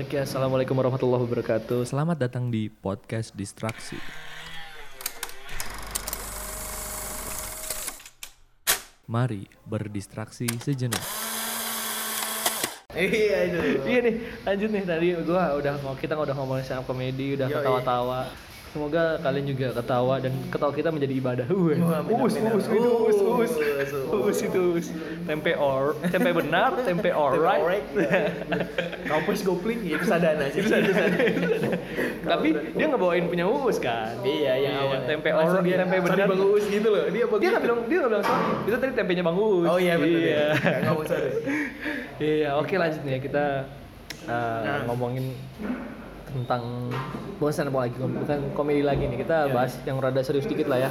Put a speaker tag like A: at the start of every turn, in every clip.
A: Oke, assalamualaikum warahmatullahi wabarakatuh. Selamat datang di podcast distraksi. Mari berdistraksi sejenak.
B: Iya itu.
A: Iya nih, lanjut nih tadi gua udah mau kita udah ngomongin stand up comedy, udah
B: Yoi.
A: ketawa-tawa. Semoga kalian juga ketawa dan ketawa kita menjadi ibadah. Uus,
B: Wah, amin,
A: uus,
B: amin,
A: uus,
B: amin.
A: itu uus, uus,
B: Uus,
A: uus itu uus. Tempe or, tempe benar, tempe alright.
B: Kampus gopling ya itu sadana sih. Itu
A: Tapi dia ngebawain punya uus kan.
B: Iya yang awal.
A: Tempe
B: Langsung
A: or,
B: dia
A: tempe
B: sorry,
A: benar.
B: Bang Uus gitu loh. Dia Bang
A: Dia nggak
B: Uus.
A: bilang, dia nggak bilang sorry. Itu tadi tempenya bang Uus.
B: Oh iya betul.
A: Iya.
B: Enggak usah deh.
A: Iya, oke lanjut nih ya kita uh,
B: Nah.
A: ngomongin tentang bukan stand up lagi, bukan komedi lagi nih. Kita
B: Iya.
A: bahas yang rada serius dikit lah ya.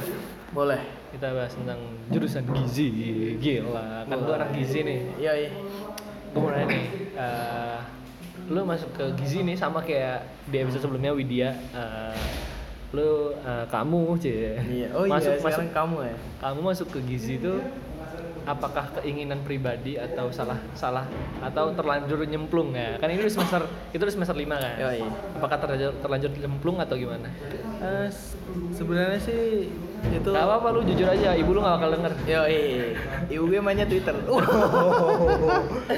B: Boleh.
A: Kita bahas tentang jurusan gizi, gila. Kan gua anak gizi nih.
B: Iya iya.
A: Gua mau nanya nih, uh, lu masuk ke gizi nih sama kayak di episode sebelumnya Widya. Uh, lu uh, kamu cie
B: Iya. Oh iya.
A: masuk masuk
B: sekarang kamu ya.
A: kamu masuk ke gizi itu apakah keinginan pribadi atau salah salah atau terlanjur nyemplung ya kan ini udah semester itu udah semester lima kan
B: Yoi.
A: apakah terlanjur terlanjur nyemplung atau gimana
B: Eh, s- sebenarnya sih itu
A: nggak apa apa lu jujur aja ibu lu nggak bakal denger
B: Yo, ibu gue mainnya Twitter. Oh.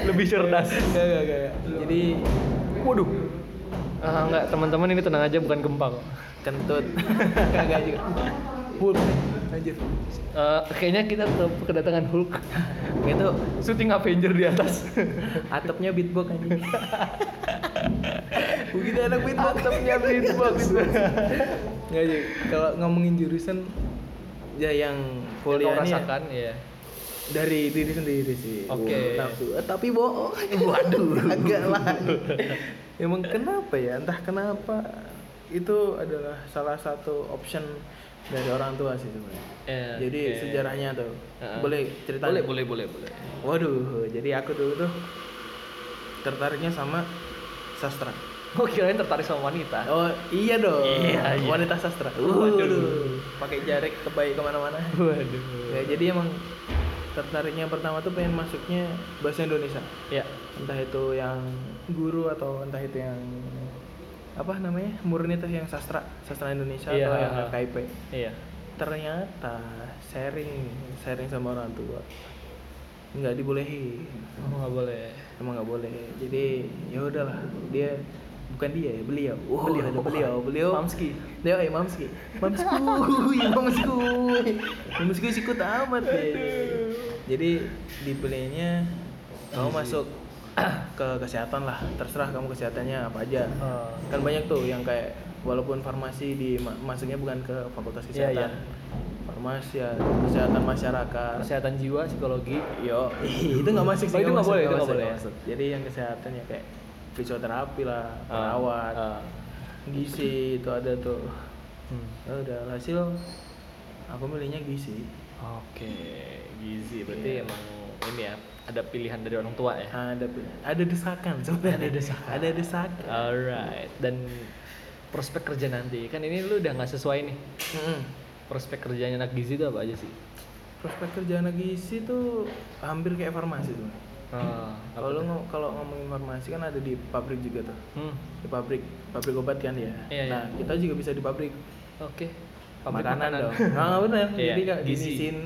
A: lebih cerdas
B: Enggak, enggak, enggak. Jadi
A: waduh Ah, enggak teman-teman ini tenang aja bukan gempa kok
B: kentut. Kagak juga. Full. Lanjut.
A: Eh, kayaknya kita ke kedatangan Hulk
B: Itu
A: syuting Avenger di atas
B: atapnya beatbox anjing. Begitu anak beatbox.
A: atapnya beatbox
B: Enggak sih, kalau ngomongin jurusan ya yang
A: kau
B: kuliahnya
A: rasakan ya
B: dari diri sendiri sih.
A: Oke.
B: Wow, nafsu. Eh, tapi bohong. Waduh. Agak lah. Emang kenapa ya? Entah kenapa itu adalah salah satu option dari orang tua sih sebenarnya.
A: Eh,
B: Jadi
A: oke.
B: sejarahnya tuh.
A: Heeh.
B: Boleh cerita?
A: boleh boleh boleh boleh
B: Waduh, jadi aku dulu tuh tertariknya sama sastra.
A: Gue Oh, kirain tertarik sama wanita.
B: Oh iya dong.
A: Ah. Iya, iya.
B: Wanita sastra.
A: Waduh.
B: Waduh. Pakai jarik kebaya kemana-mana.
A: Oh, Waduh.
B: Ya, jadi emang tertariknya pertama tuh pengen masuknya bahasa Indonesia.
A: Ya.
B: Entah itu yang guru atau entah itu yang apa namanya murni tuh yang sastra sastra Indonesia
A: Iya,
B: atau yang
A: ha, ha.
B: KIP.
A: Iya.
B: Ternyata sharing sharing sama orang tua nggak dibolehin
A: Oh, nggak boleh.
B: emang nggak boleh jadi ya udahlah dia bukan dia ya beliau oh, beliau ada beliau beliau
A: Mamski.
B: dia eh mamski mamsku mamsku mamsku sikut amat ya jadi dipilihnya
A: Iya
B: kamu masuk ke kesehatan lah terserah kamu kesehatannya apa aja
A: Oh.
B: kan banyak tuh yang kayak walaupun farmasi di ma- masuknya bukan ke fakultas
A: Iya,
B: kesehatan farmasi ya, kesehatan masyarakat
A: Kesehatan jiwa, psikologi.
B: Yo, itu nggak masuk sih.
A: Oh, itu nggak
B: masuk,
A: boleh, itu nggak
B: masuk,
A: boleh ya?
B: masuk. Jadi yang kesehatan ya kayak fisioterapi lah, perawat,
A: Ah.
B: gizi itu ada tuh.
A: Hmm.
B: Ya udah hasil aku milihnya gizi.
A: Oke, gizi berarti
B: Iya.
A: emang ini ya ada pilihan dari orang tua ya.
B: Ada ada desakan sebenarnya.
A: Ada desakan.
B: Ada desakan.
A: Alright. Ah. Dan prospek kerja nanti kan ini lu udah nggak sesuai nih.
B: Mm-mm.
A: Prospek kerjanya anak gizi itu apa aja sih?
B: Prospek kerja anak gizi tuh hampir kayak farmasi tuh.
A: Ah, apa
B: Kalau lu
A: tuh?
B: ngo- kalau ngomongin farmasi kan ada di pabrik juga tuh.
A: Hmm.
B: Di pabrik, pabrik obat kan ya.
A: Iya, iya.
B: nah, kita juga bisa di pabrik.
A: Oke. Pabrik
B: makanan, dong. Ah benar.
A: Iya,
B: Jadi kayak
A: gizi.
B: gizi. nisin,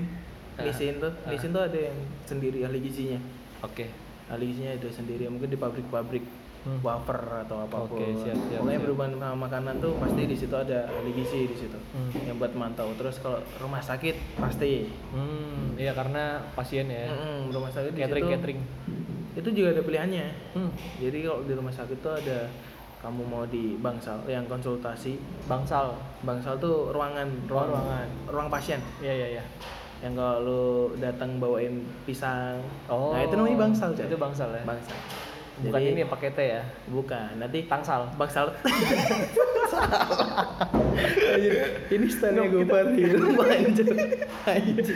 A: Ah,
B: nisin tuh,
A: ah.
B: nisin tuh ada yang sendiri ahli gizinya.
A: Oke.
B: Ahli gizinya ada sendiri mungkin di pabrik-pabrik
A: Hmm.
B: wafer atau apapun.
A: Oke, siap, siap,
B: Pokoknya
A: siap.
B: berhubungan sama makanan tuh pasti di situ ada ahli gizi di situ.
A: Hmm.
B: Yang buat mantau. Terus kalau rumah sakit pasti.
A: Hmm, iya karena pasien ya.
B: Mm-mm, rumah sakit di
A: Catering
B: situ.
A: catering.
B: Itu juga ada pilihannya.
A: Hmm.
B: Jadi kalau di rumah sakit tuh ada kamu mau di bangsal yang konsultasi.
A: Bangsal.
B: Bangsal tuh ruangan,
A: Oh,
B: ruang,
A: ruangan.
B: ruang pasien.
A: Iya iya iya.
B: yang kalau lu datang bawain pisang
A: Oh.
B: nah itu namanya bangsal coy
A: Itu bangsal ya.
B: bangsal
A: Bukan
B: Jadi-
A: ini ya pakai teh ya.
B: bukan nanti
A: Tangsal.
B: bangsal ini standnya gue parkir anjir anjir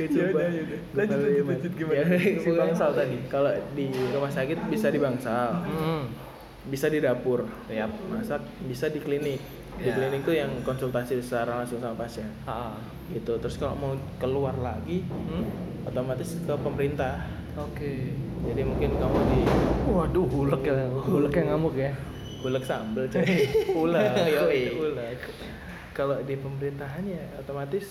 A: Yaudah, yaudah. ya Lanjut, lanjut, lanjut, gimana?
B: Ya,
A: Si bangsal tadi.
B: kalau di rumah sakit bisa di bangsal
A: Hmm.
B: bisa di dapur
A: Yap.
B: masak bisa di klinik di
A: Ya.
B: klinik tuh yang konsultasi secara langsung sama pasien
A: Ah.
B: gitu terus kalau mau keluar lagi
A: Hmm.
B: otomatis ke pemerintah
A: Oke.
B: jadi mungkin kamu di
A: Waduh, hulek ya, hulek yang ngamuk ya.
B: ulek sambel coy ulek
A: Yoi.
B: ulek kalau di pemerintahan ya otomatis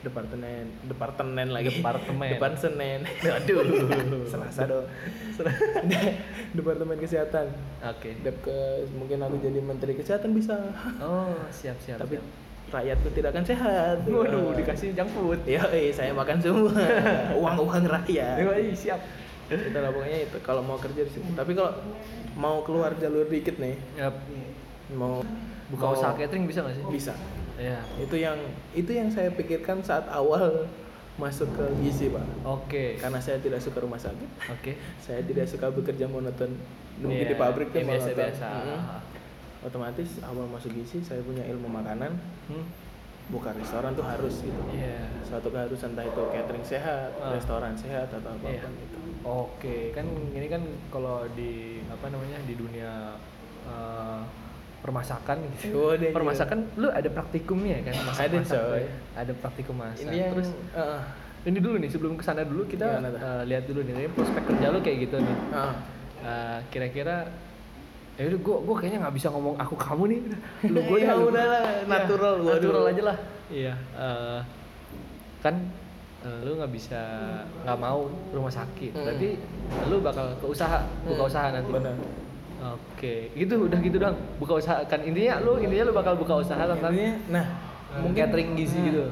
B: departemen departemen lagi
A: Departemen.
B: depan senen
A: Aduh.
B: selasa dong departemen kesehatan
A: Oke.
B: Depkes mungkin aku jadi menteri kesehatan bisa
A: Oh, siap siap.
B: tapi
A: siap.
B: rakyatku tidak akan sehat
A: waduh, dikasih junk food.
B: Yoi, saya makan semua uang uang rakyat
A: Yoi, siap.
B: kita Gitu lah pokoknya itu kalau mau kerja di situ tapi kalau mau keluar jalur dikit nih
A: Yap.
B: mau
A: Buka
B: mau-
A: usaha gitu. catering bisa nggak sih?
B: Oh. bisa
A: Iya.
B: itu yang itu yang saya pikirkan saat awal masuk ke gizi pak
A: Oke.
B: karena saya tidak suka rumah sakit
A: Oke.
B: saya tidak suka bekerja monoton mungkin
A: Iya,
B: di pabrik tuh Mm-hmm.
A: yang
B: monoton.
A: biasa-biasa.
B: Mm-mm. otomatis awal masuk gizi saya punya ilmu makanan
A: Hmm?
B: buka restoran tuh harus gitu
A: Iya.
B: suatu keharusan entah itu catering sehat
A: Ah.
B: restoran sehat atau apa
A: Iya.
B: apa gitu
A: Oke, kan ini kan kalau di apa namanya di dunia eh, permasakan gitu.
B: Oh, ada
A: permasakan lu ada praktikumnya ya kan?
B: Ada,
A: Masak-masak tuh
B: coy.
A: ya. Ada praktikum masak.
B: ini yang
A: Terus
B: ah,
A: ini dulu nih sebelum kesana dulu kita
B: Gimana tuh?
A: eh, lihat dulu nih ini prospek kerja lu kayak gitu nih.
B: ah.
A: Eh, kira-kira ya udah gua gua kayaknya nggak bisa ngomong aku kamu nih. Lu gua
B: Ya
A: dah, lu.
B: udahlah,
A: Iya,
B: natural, waduh.
A: natural aja lah. Iya. eh, kan eh, lu nggak bisa nggak mau rumah sakit.
B: Mm.
A: Berarti lu bakal ke usaha, buka
B: Hmm,
A: usaha nanti.
B: benar
A: Oke, gitu udah gitu doang. Buka usaha kan intinya lu intinya lu bakal buka usaha tentang
B: Intinya, nah
A: mungkin catering gizi
B: Hmm.
A: gitu.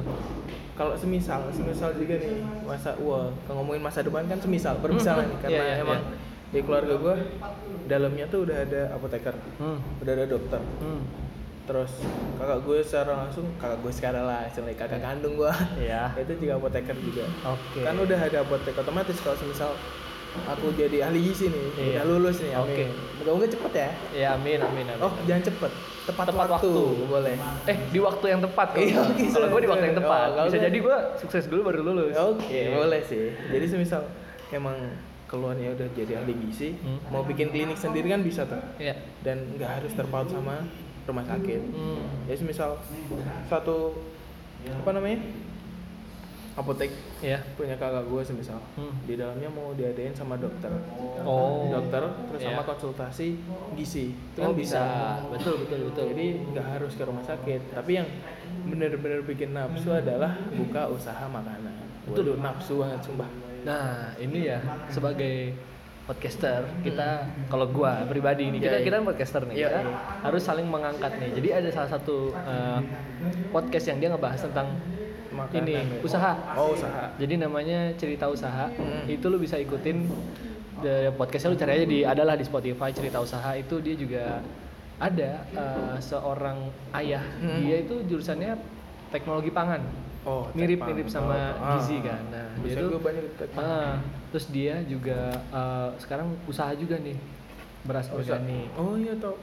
B: kalau semisal semisal juga nih masa wah kalau ngomongin masa depan kan semisal permisalan
A: Mhm. Iya,
B: karena
A: iya,
B: emang di keluarga gue dalamnya tuh udah ada apoteker
A: Hmm.
B: udah ada dokter
A: Hmm.
B: terus kakak gue secara langsung kakak gue sekarang lah istilahnya kakak kandung gue
A: Iya.
B: itu juga apoteker juga
A: Oke.
B: kan udah ada apotek otomatis kalau semisal aku jadi ahli gizi nih
A: Iya.
B: udah lulus nih
A: Oke.
B: amin moga-moga cepet ya
A: Ya amin amin amin.
B: oh jangan cepet tepat,
A: Tepat
B: waktu.
A: waktu.
B: boleh
A: Eh di waktu yang tepat kalau
B: Iya,
A: gua.
B: oke,
A: Kalau gue di waktu yang
B: sorry,
A: tepat.
B: sorry. Oh, kalau
A: Bisa
B: gua-
A: jadi gue sukses dulu baru lulus.
B: Oke,
A: Iya.
B: boleh sih. Jadi semisal emang keluarnya udah jadi ahli gizi,
A: Hmm.
B: mau bikin klinik sendiri kan bisa tuh.
A: Iya.
B: Dan nggak harus terpaut sama rumah sakit.
A: Hmm.
B: Jadi semisal satu apa namanya apotek
A: Iya.
B: punya kakak gue semisal
A: Hmm.
B: di dalamnya mau diadain sama dokter,
A: Oh.
B: dokter terus
A: Iya.
B: sama konsultasi gizi, itu
A: Oh
B: kan
A: bisa. Betul betul betul.
B: Jadi nggak harus ke rumah sakit. Tapi yang bener-bener bikin nafsu adalah buka usaha makanan.
A: Betul.
B: Waduh, nafsu banget sumpah.
A: Nah ini ya sebagai podcaster kita kalau gua pribadi ini kita
B: Hmm. Iya, iya.
A: kita podcaster nih
B: Iya,
A: kita
B: iya.
A: harus saling mengangkat nih. Jadi ada salah satu eh, podcast yang dia ngebahas tentang
B: Makanan
A: ini
B: ya.
A: usaha.
B: Oh usaha.
A: Jadi namanya cerita usaha.
B: Hmm.
A: Itu lu bisa ikutin the podcastnya lu cari aja di adalah di Spotify cerita usaha itu dia juga ada eh, seorang ayah
B: Hmm.
A: dia itu jurusannya teknologi pangan
B: Oh
A: mirip-mirip
B: Tekpan.
A: sama
B: Oh, ah.
A: gizi kan. Nah dia
B: Dosen
A: tuh
B: gua banyak di Tekpan.
A: ah, terus dia juga eh, sekarang usaha juga nih beras
B: Dosen.
A: organik.
B: Oh iya tau.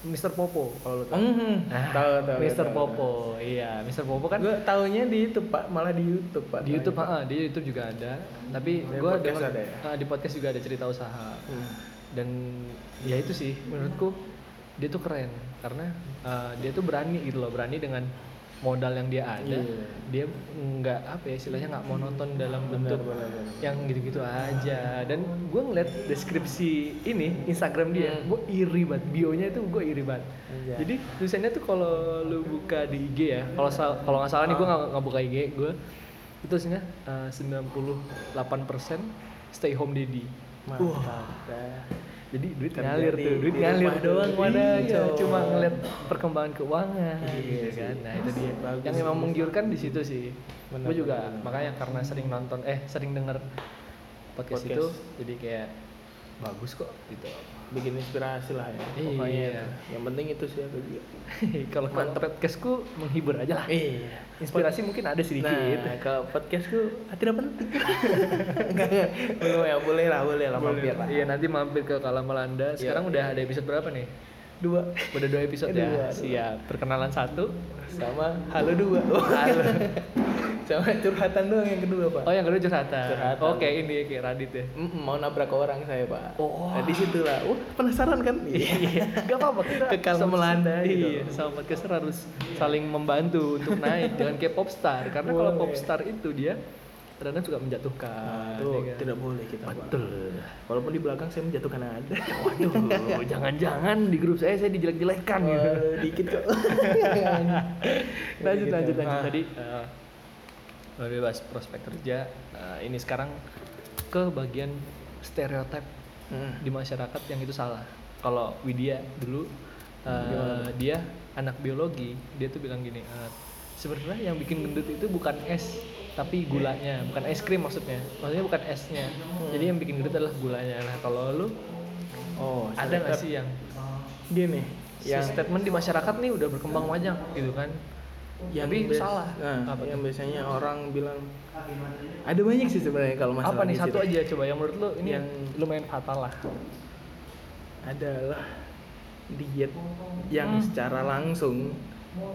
A: Mr. Popo kalau lu tahu.
B: Mhm.
A: Nah,
B: Tahu tahu.
A: Mr.
B: tahu,
A: Popo, iya Mr. Popo
B: tahu.
A: kan
B: Gua taunya di YouTube pak, malah di YouTube pak.
A: di YouTube
B: Taunya,
A: ah, di YouTube juga ada tapi
B: Di
A: gua
B: podcast
A: denger-
B: ada ya?
A: ah, di podcast juga ada cerita usaha
B: Pak. Hmm.
A: dan ya itu sih menurutku dia tuh keren karena eh, dia tuh berani gitu loh berani dengan modal yang dia ada
B: Iya.
A: dia nggak apa ya istilahnya nggak monoton dalam
B: Benar
A: bentuk
B: benar benar.
A: yang gitu-gitu aja dan gue ngeliat deskripsi ini Instagram dia
B: Hmm.
A: gue iri banget bionya itu gue iri banget
B: Iya.
A: jadi tulisannya tuh kalau lu buka di IG ya kalau sal- kalau nggak salah nih gue nggak nggak buka IG gue itu tulisannya eh, 98% stay home daddy Wah,
B: Mantap. Ya. dah.
A: jadi duit kan
B: Kerja
A: ngalir
B: di-
A: tuh duit
B: di
A: ngalir
B: rumah
A: tuh.
B: doang, wadah,
A: iya,
B: coy.
A: cuma ngeliat perkembangan keuangan
B: Iya
A: gitu
B: sih.
A: kan nah itu dia
B: Bagus,
A: yang memang
B: bagus.
A: menggiurkan di situ sih
B: Benar,
A: gue juga
B: benar, benar.
A: makanya karena sering nonton eh sering denger podcast,
B: Podcast.
A: itu jadi kayak bagus kok gitu
B: Bikin inspirasi lah ya.
A: Iya.
B: Pokoknya itu. Yang penting itu sih aku juga.
A: kalau kalau podcastku menghibur aja lah
B: Iya.
A: inspirasi mungkin ada Ah. sedikit
B: Nah, kalau podcastku ah, tidak penting. Enggak, enggak. Belum ya, boleh lah, boleh lah,
A: Boleh.
B: mampir lah.
A: iya nanti mampir ke Kalamalanda sekarang
B: Iya.
A: udah ada episode berapa nih
B: Dua
A: udah dua episode
B: Dua, dua.
A: ya siap perkenalan satu
B: sama halo dua.
A: Halo.
B: sama curhatan doang yang kedua, Pak.
A: Oh yang kedua curhatan.
B: Curhatan.
A: Oke ini kayak Radit ya.
B: Mm-mm, mau nabrak orang saya, Pak.
A: Oh.
B: Nah, di situlah. Wah, penasaran kan?
A: Iya. Gak apa-apa kita
B: Kekal
A: sama-
B: melanda gitu.
A: Iya. Sama podcaster harus saling membantu untuk naik. Jangan kayak popstar karena kalau
B: Boleh.
A: popstar itu dia terkadang suka menjatuhkan ya
B: Nah, itu
A: kan?
B: tidak boleh kita Pak.
A: betul
B: Walaupun di belakang saya menjatuhkan ada.
A: waduh jangan-jangan di grup saya saya dijelek-jelekan gitu
B: Wah, dikit kok. Iya, lanjut
A: Gitu.
B: lanjut lanjut
A: Ah.
B: tadi.
A: Eh, bebas prospek kerja eh, ini sekarang ke bagian stereotip
B: Hmm.
A: di masyarakat yang itu salah kalau Widya dulu eh, dia anak biologi dia tuh bilang gini "Eh, sebenarnya yang bikin gendut itu bukan es tapi gulanya bukan es krim maksudnya maksudnya bukan esnya jadi yang bikin gendut adalah gulanya nah kalau lu
B: Oh,
A: ada nggak
B: stereotip.
A: sih yang
B: Gini,
A: yang statement di masyarakat nih udah berkembang wajang gitu kan
B: yang
A: tapi
B: bias-
A: salah
B: Nah,
A: apa
B: yang
A: tuh?
B: biasanya orang bilang ada banyak sih sebenarnya kalau masalah
A: apa nih
B: di
A: satu
B: situ.
A: aja coba yang menurut lu ini ya? yang
B: Yang-
A: lumayan fatal lah
B: adalah diet yang
A: Hmm.
B: secara langsung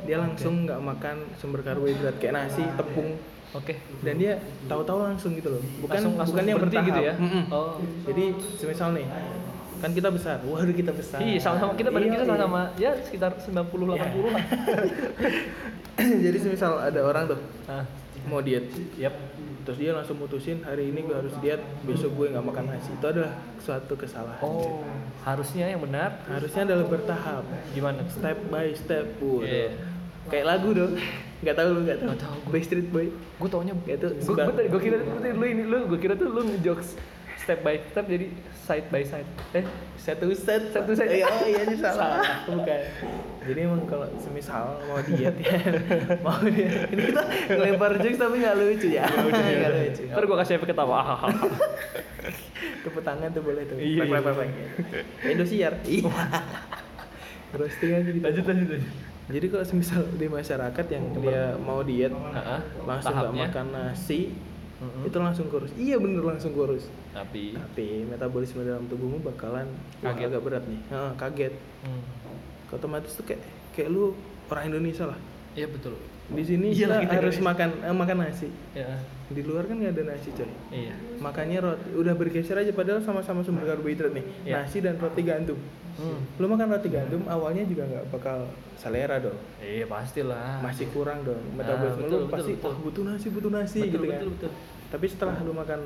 B: dia langsung nggak makan sumber karbohidrat kayak nasi, tepung
A: oke
B: dan dia tahu-tahu langsung gitu loh. Bukan
A: Langsung- langsung
B: bukan yang
A: berhenti
B: bertahap.
A: gitu ya
B: Mm-mm.
A: oh
B: Jadi semisal nih kan kita besar, waduh kita besar.
A: iya Iya. sama-sama kita badan
B: Iya,
A: kita
B: iya.
A: sama-sama ya sekitar 90 80 lah
B: Jadi semisal ada orang tuh
A: nah
B: mau diet,
A: yep
B: terus dia langsung mutusin hari ini gue harus diet, besok gue nggak makan nasi. Itu adalah suatu kesalahan.
A: oh harusnya yang benar
B: Harusnya adalah bertahap,
A: gimana
B: step by step. Waduh.
A: Iya.
B: Kayak lagu dong. Nggak tahu lu nggak tahu.
A: Nggak tahu gue.
B: By Street Boy.
A: gue taunya
B: Itu
A: gue
B: sebab-
A: gue kira tuh lu ini lu gue kira tuh lu ngejokes step by step jadi side by side eh
B: Satu set,
A: Satu set.
B: Eh, Oh iya ini salah.
A: Salah.
B: Bukan. Jadi emang kalau semisal mau diet ya, mau diet. Ini kita ngelempar jokes tapi nggak lucu ya. Nggak lucu.
A: ntar gue kasih efek ketawa
B: Tepuk tangan tuh boleh tuh.
A: Iya,
B: Plek,
A: iya.
B: plek, plek, plek. Indosiar. Iya. Roasting aja gitu.
A: lanjut lanjut lanjut
B: Jadi kalau semisal di masyarakat yang dia mau diet
A: Heeh,
B: langsung nggak
A: tahapnya.
B: makan nasi,
A: Mm-mm.
B: itu langsung kurus. Iya bener langsung kurus.
A: tapi
B: Tapi metabolisme dalam tubuhmu bakalan wah,
A: Kaget.
B: agak berat nih. Heeh, kaget.
A: hmm,
B: Otomatis tuh kayak kayak lu orang Indonesia lah.
A: ya betul
B: Di sini
A: Iya lah, kita
B: kita harus
A: Indonesia.
B: makan eh, makan nasi.
A: ya
B: Di luar kan nggak ada nasi coy.
A: iya
B: Makanya roti udah bergeser aja padahal sama-sama sumber karbohidrat nih.
A: Iya.
B: Nasi dan roti gandum.
A: hmm.
B: Lu makan roti gandum awalnya juga nggak bakal selera dong.
A: Iya pastilah.
B: masih kurang dong metabolisme
A: betul,
B: lu
A: betul,
B: pasti
A: betul.
B: "Wah, butuh nasi butuh nasi
A: betul,
B: gitu kan
A: betul, betul.
B: tapi setelah lu makan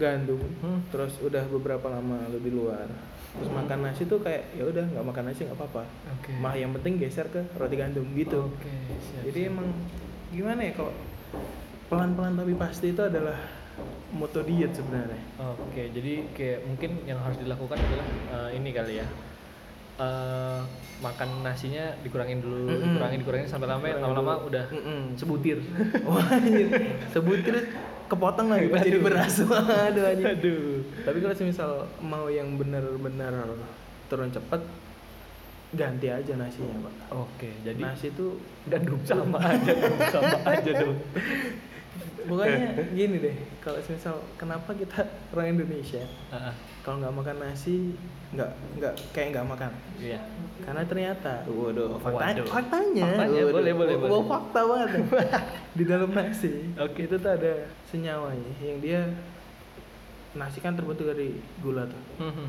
B: gandum
A: Hmm.
B: terus udah beberapa lama lu di luar terus makan nasi tuh kayak ya udah nggak makan nasi nggak apa-apa
A: Oke. Oh, iya,
B: mah yang penting geser ke roti gandum gitu
A: Oke, siap.
B: jadi emang gimana ya kalau pelan-pelan tapi pasti itu adalah moto diet sebenarnya
A: Oke, jadi kayak mungkin yang harus dilakukan adalah eh, ini kali ya. Eh, makan nasinya dikurangin dulu,
B: Mm-mm.
A: dikurangin dikurangin sampai lama ya,
B: Kurangin
A: lama-lama
B: dulu.
A: Ah, udah
B: Mm-mm.
A: sebutir.
B: wah anjir sebutir kepotong lagi pas jadi beras aduh anjir
A: Aduh.
B: Tapi kalau semisal mau yang benar-benar turun cepet, ganti aja nasinya, Pak.
A: Oke, jadi
B: Nasi itu
A: gandum sama aja dong, sama aja dong.
B: pokoknya
A: Eh.
B: gini deh, kalau semisal kenapa kita orang Indonesia
A: Ah, ah,
B: kalau nggak makan nasi nggak nggak kayak nggak makan
A: Iya.
B: karena ternyata waduh fakta,
A: Waduh.
B: faktanya,
A: Faktanya, boleh, boleh,
B: Wah,
A: boleh.
B: fakta banget di dalam nasi
A: Oke.
B: itu tuh ada senyawanya yang dia nasi kan terbentuk dari gula tuh
A: Mhm.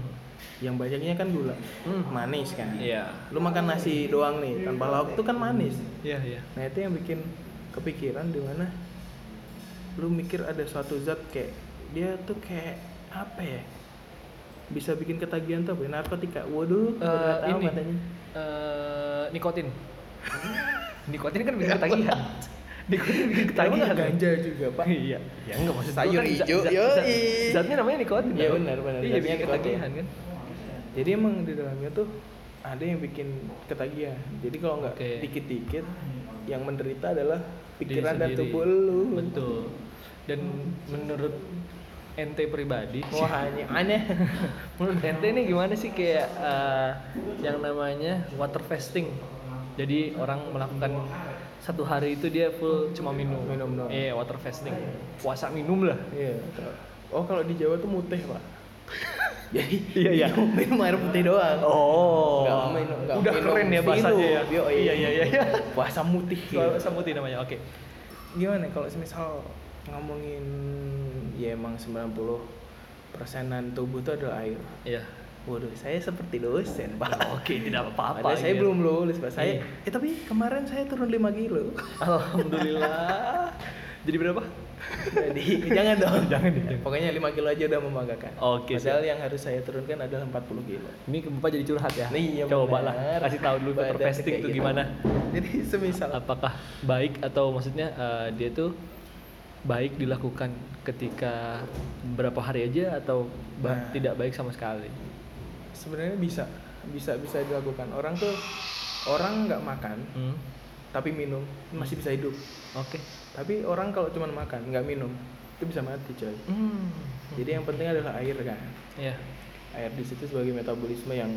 B: yang banyaknya kan gula
A: Hmm.
B: manis kan
A: Iya.
B: lu makan nasi doang nih tanpa lauk tuh kan manis
A: Iya, iya.
B: nah itu yang bikin kepikiran di mana lu mikir ada suatu zat kayak dia tuh kayak apa ya bisa bikin ketagihan tuh apa ya? narkotika
A: Eh,
B: waduh nggak tahu
A: ini.
B: katanya.
A: Eh, nikotin. nikotin kan bisa ketagihan. nikotin bikin
B: Emang nggak
A: ketagihan.
B: ganja juga pak
A: iya ya enggak maksud
B: Sayur
A: gua zat-
B: hijau,
A: zat-
B: yoi.
A: zat- zatnya namanya nikotin
B: Iya,
A: tau.
B: benar, benar.
A: iya
B: Zatnya
A: bikin
B: nikotin.
A: ketagihan kan
B: jadi emang di dalamnya tuh ada yang bikin ketagihan jadi kalau nggak
A: Oke.
B: dikit-dikit yang menderita adalah pikiran
A: Diri
B: dan
A: sendiri.
B: tubuh lu
A: betul dan menurut ente pribadi
B: wah aneh aneh
A: menurut ente ini gimana sih kayak eh, yang namanya water fasting jadi orang melakukan satu hari itu dia full cuma minum
B: Minum doang.
A: iya water fasting puasa minum lah
B: Iya. betul. Oh kalau di Jawa tuh mutih pak. Jadi
A: Iya, iya.
B: minum, minum air putih doang.
A: oh
B: Nggak minum- nggak
A: udah
B: minum
A: keren ya
B: vino.
A: bahasanya ya
B: Yo,
A: iya iya iya, iya.
B: Puasa mutih.
A: Soal samuti namanya oke
B: Gimana ya, kalau semisal ngomongin ya emang 90 persenan tubuh tuh adalah air.
A: iya
B: Waduh, saya seperti dosen, Pak.
A: Oke, tidak apa-apa.
B: Padahal saya
A: gitu.
B: belum lulus, Pak. Saya
A: Iya. Oh.
B: eh tapi kemarin saya turun 5 kilo.
A: Alhamdulillah. Jadi berapa?
B: Jadi jangan dong.
A: Jangan, jangan.
B: Pokoknya 5 kilo aja udah membanggakan.
A: Oke,
B: Padahal yang harus saya turunkan adalah 40 kilo.
A: Ini ke Bapak jadi curhat ya.
B: Nih, iya
A: Coba lah
B: benar.
A: kasih tahu dulu
B: Badan
A: fasting
B: kayak
A: itu
B: gitu.
A: gimana.
B: Jadi semisal
A: Apakah baik atau maksudnya eh, dia tuh baik dilakukan ketika beberapa hari aja atau bah-
B: Nah.
A: tidak baik sama sekali.
B: sebenarnya bisa bisa bisa dilakukan. Orang tuh orang nggak makan
A: Hmm.
B: tapi minum masih bisa hidup.
A: Oke.
B: Tapi orang kalau cuma makan nggak minum itu bisa mati coy.
A: Hmm.
B: Jadi yang penting adalah air kan.
A: Ya,
B: Air di situ sebagai metabolisme yang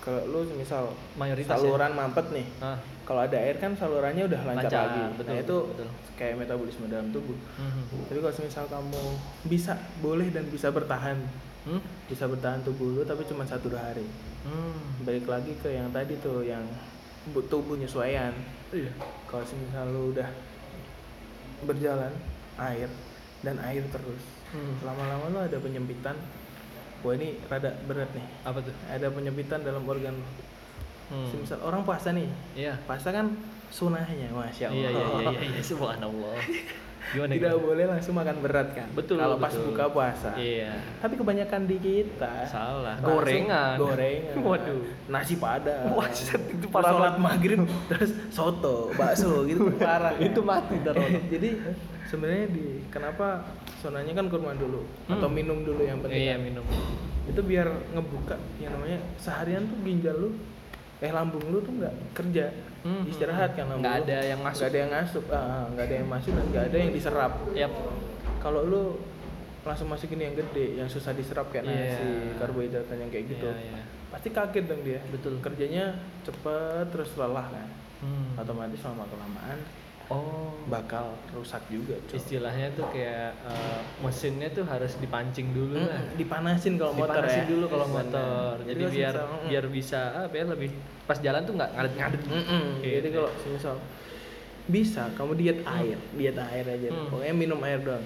B: kalau lu misal
A: mayoritas ya.
B: saluran mampet nih.
A: Ah.
B: Kalau ada air kan salurannya udah lancar,
A: Lancar,
B: lagi.
A: betul,
B: nah itu
A: betul.
B: kayak metabolisme dalam tubuh.
A: Mhm.
B: Tapi kalau misal kamu bisa, boleh dan bisa bertahan,
A: Hmm?
B: bisa bertahan tubuh lu tapi cuma satu dua hari.
A: Hmm.
B: Balik lagi ke yang tadi tuh yang bu- tubuh penyesuaian.
A: Iya.
B: Kalau misal lu udah berjalan air dan air terus,
A: Hmm.
B: lama-lama lu ada penyempitan. Wah ini rada berat nih.
A: Apa tuh?
B: Ada penyempitan dalam organ. lu.
A: Hmm.
B: Misal orang puasa nih,
A: Iya.
B: puasa kan sunahnya, masya Ya Allah.
A: Iya, iya, iya, iya, iya, subhanallah. Gimana
B: tidak
A: gimana?
B: boleh langsung makan berat kan
A: Betul,
B: kalau pas
A: betul.
B: buka puasa
A: Iya.
B: tapi kebanyakan di kita
A: Salah.
B: langsung
A: Gorengan.
B: gorengan
A: Waduh.
B: nasi padang
A: Waset, itu
B: Terus
A: parah
B: sholat maghrib terus soto bakso gitu parah
A: Itu mati ntar orang.
B: jadi sebenarnya di kenapa sonanya kan kurma dulu atau
A: Hmm.
B: minum dulu yang penting
A: Iya,
B: kan.
A: minum.
B: itu biar ngebuka yang namanya seharian tuh ginjal lu eh lambung lu tuh nggak kerja
A: Hmm,
B: istirahat kan lambung
A: nggak
B: lu.
A: ada yang masuk.
B: nggak ada yang masuk ah, nggak ada yang masuk dan nggak ada yang diserap
A: Yap.
B: kalau lu langsung masukin yang gede yang susah diserap kayak
A: Iya.
B: nasi karbohidrat yang kayak gitu
A: Iya, iya.
B: pasti kaget dong dia
A: Betul.
B: kerjanya cepet terus lelah kan
A: Hmm.
B: otomatis lama kelamaan
A: Oh.
B: bakal rusak juga cuy.
A: Istilahnya tuh kayak eh, mesinnya tuh harus dipancing dulu
B: Mm,
A: lah.
B: dipanasin kalau motor
A: Dipanasin
B: ya
A: dulu kalau
B: Benar.
A: motor. Jadi
B: kalau
A: biar
B: semisal, mm,
A: biar bisa apa ya lebih pas jalan tuh nggak ngadet-ngadet.
B: mm-mm.
A: Iya,
B: jadi
A: iya.
B: kalau misal bisa kamu diet air diet air aja
A: Hmm.
B: pokoknya minum air doang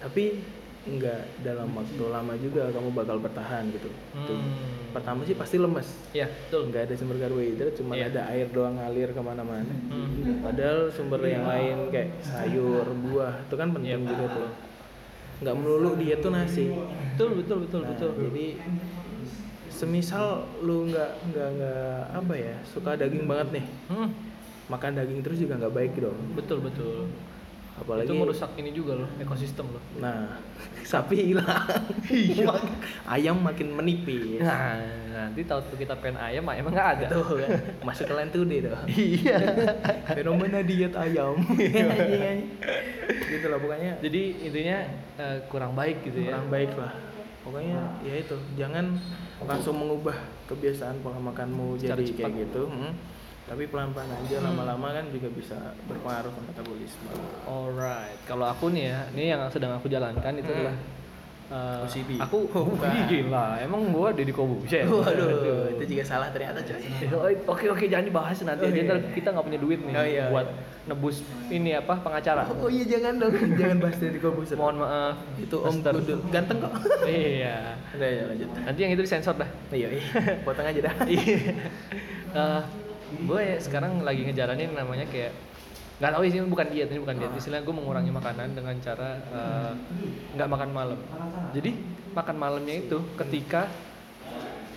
B: tapi nggak dalam waktu lama juga kamu bakal bertahan gitu Tuh.
A: Hmm.
B: pertama sih pasti lemes
A: Iya, betul.
B: nggak ada sumber karbohidrat cuma
A: Iya.
B: ada air doang ngalir kemana-mana
A: Hmm.
B: padahal sumber yang lain kayak sayur buah itu kan penting
A: Iya.
B: juga tuh nggak melulu diet tuh nasi
A: Betul, betul, betul,
B: Nah,
A: betul.
B: jadi semisal lu nggak nggak nggak apa ya suka daging banget nih
A: Hmm.
B: makan daging terus juga nggak baik dong
A: Betul, betul.
B: apalagi
A: Itu merusak ini juga loh, ekosistem loh.
B: nah sapi hilang iya. ayam makin menipis
A: Nah, nanti tahu tuh kita pengen ayam, ayam nggak ada.
B: tuh kan masuk ke tuh deh tuh iya fenomena diet ayam
A: Iya,
B: gitu lah pokoknya
A: Jadi intinya eh, kurang baik gitu ya.
B: kurang baik lah pokoknya ya itu jangan langsung mengubah kebiasaan pola makanmu
A: Secara
B: jadi
A: cepat.
B: kayak gitu mm. tapi pelan-pelan aja
A: Hmm.
B: lama-lama kan juga bisa berpengaruh ke metabolisme
A: Alright, kalau aku nih ya, ini yang sedang aku jalankan itu
B: Hmm.
A: adalah eh,
B: OCD.
A: Aku
B: Oh, bukan.
A: Wih, gila, emang gua Deddy Kobusya.
B: waduh itu juga salah ternyata coy
A: Iya. Oke oke jangan dibahas nanti
B: Oh,
A: aja
B: iya.
A: ntar kita nggak punya duit nih
B: Oh, iya,
A: buat nebus ini apa pengacara.
B: oh iya jangan dong jangan bahas dari Corbuzier
A: Mohon maaf.
B: itu om
A: Mister.
B: Gundul ganteng kok
A: iya.
B: udah ya lanjut
A: Nanti yang itu disensor dah.
B: iya iya potong aja dah
A: Iya. Eh, gue ya sekarang lagi ngejalanin namanya kayak nggak tahu sih ini bukan diet ini bukan diet istilahnya gue mengurangi makanan dengan cara eh, nggak makan malam jadi makan malamnya itu ketika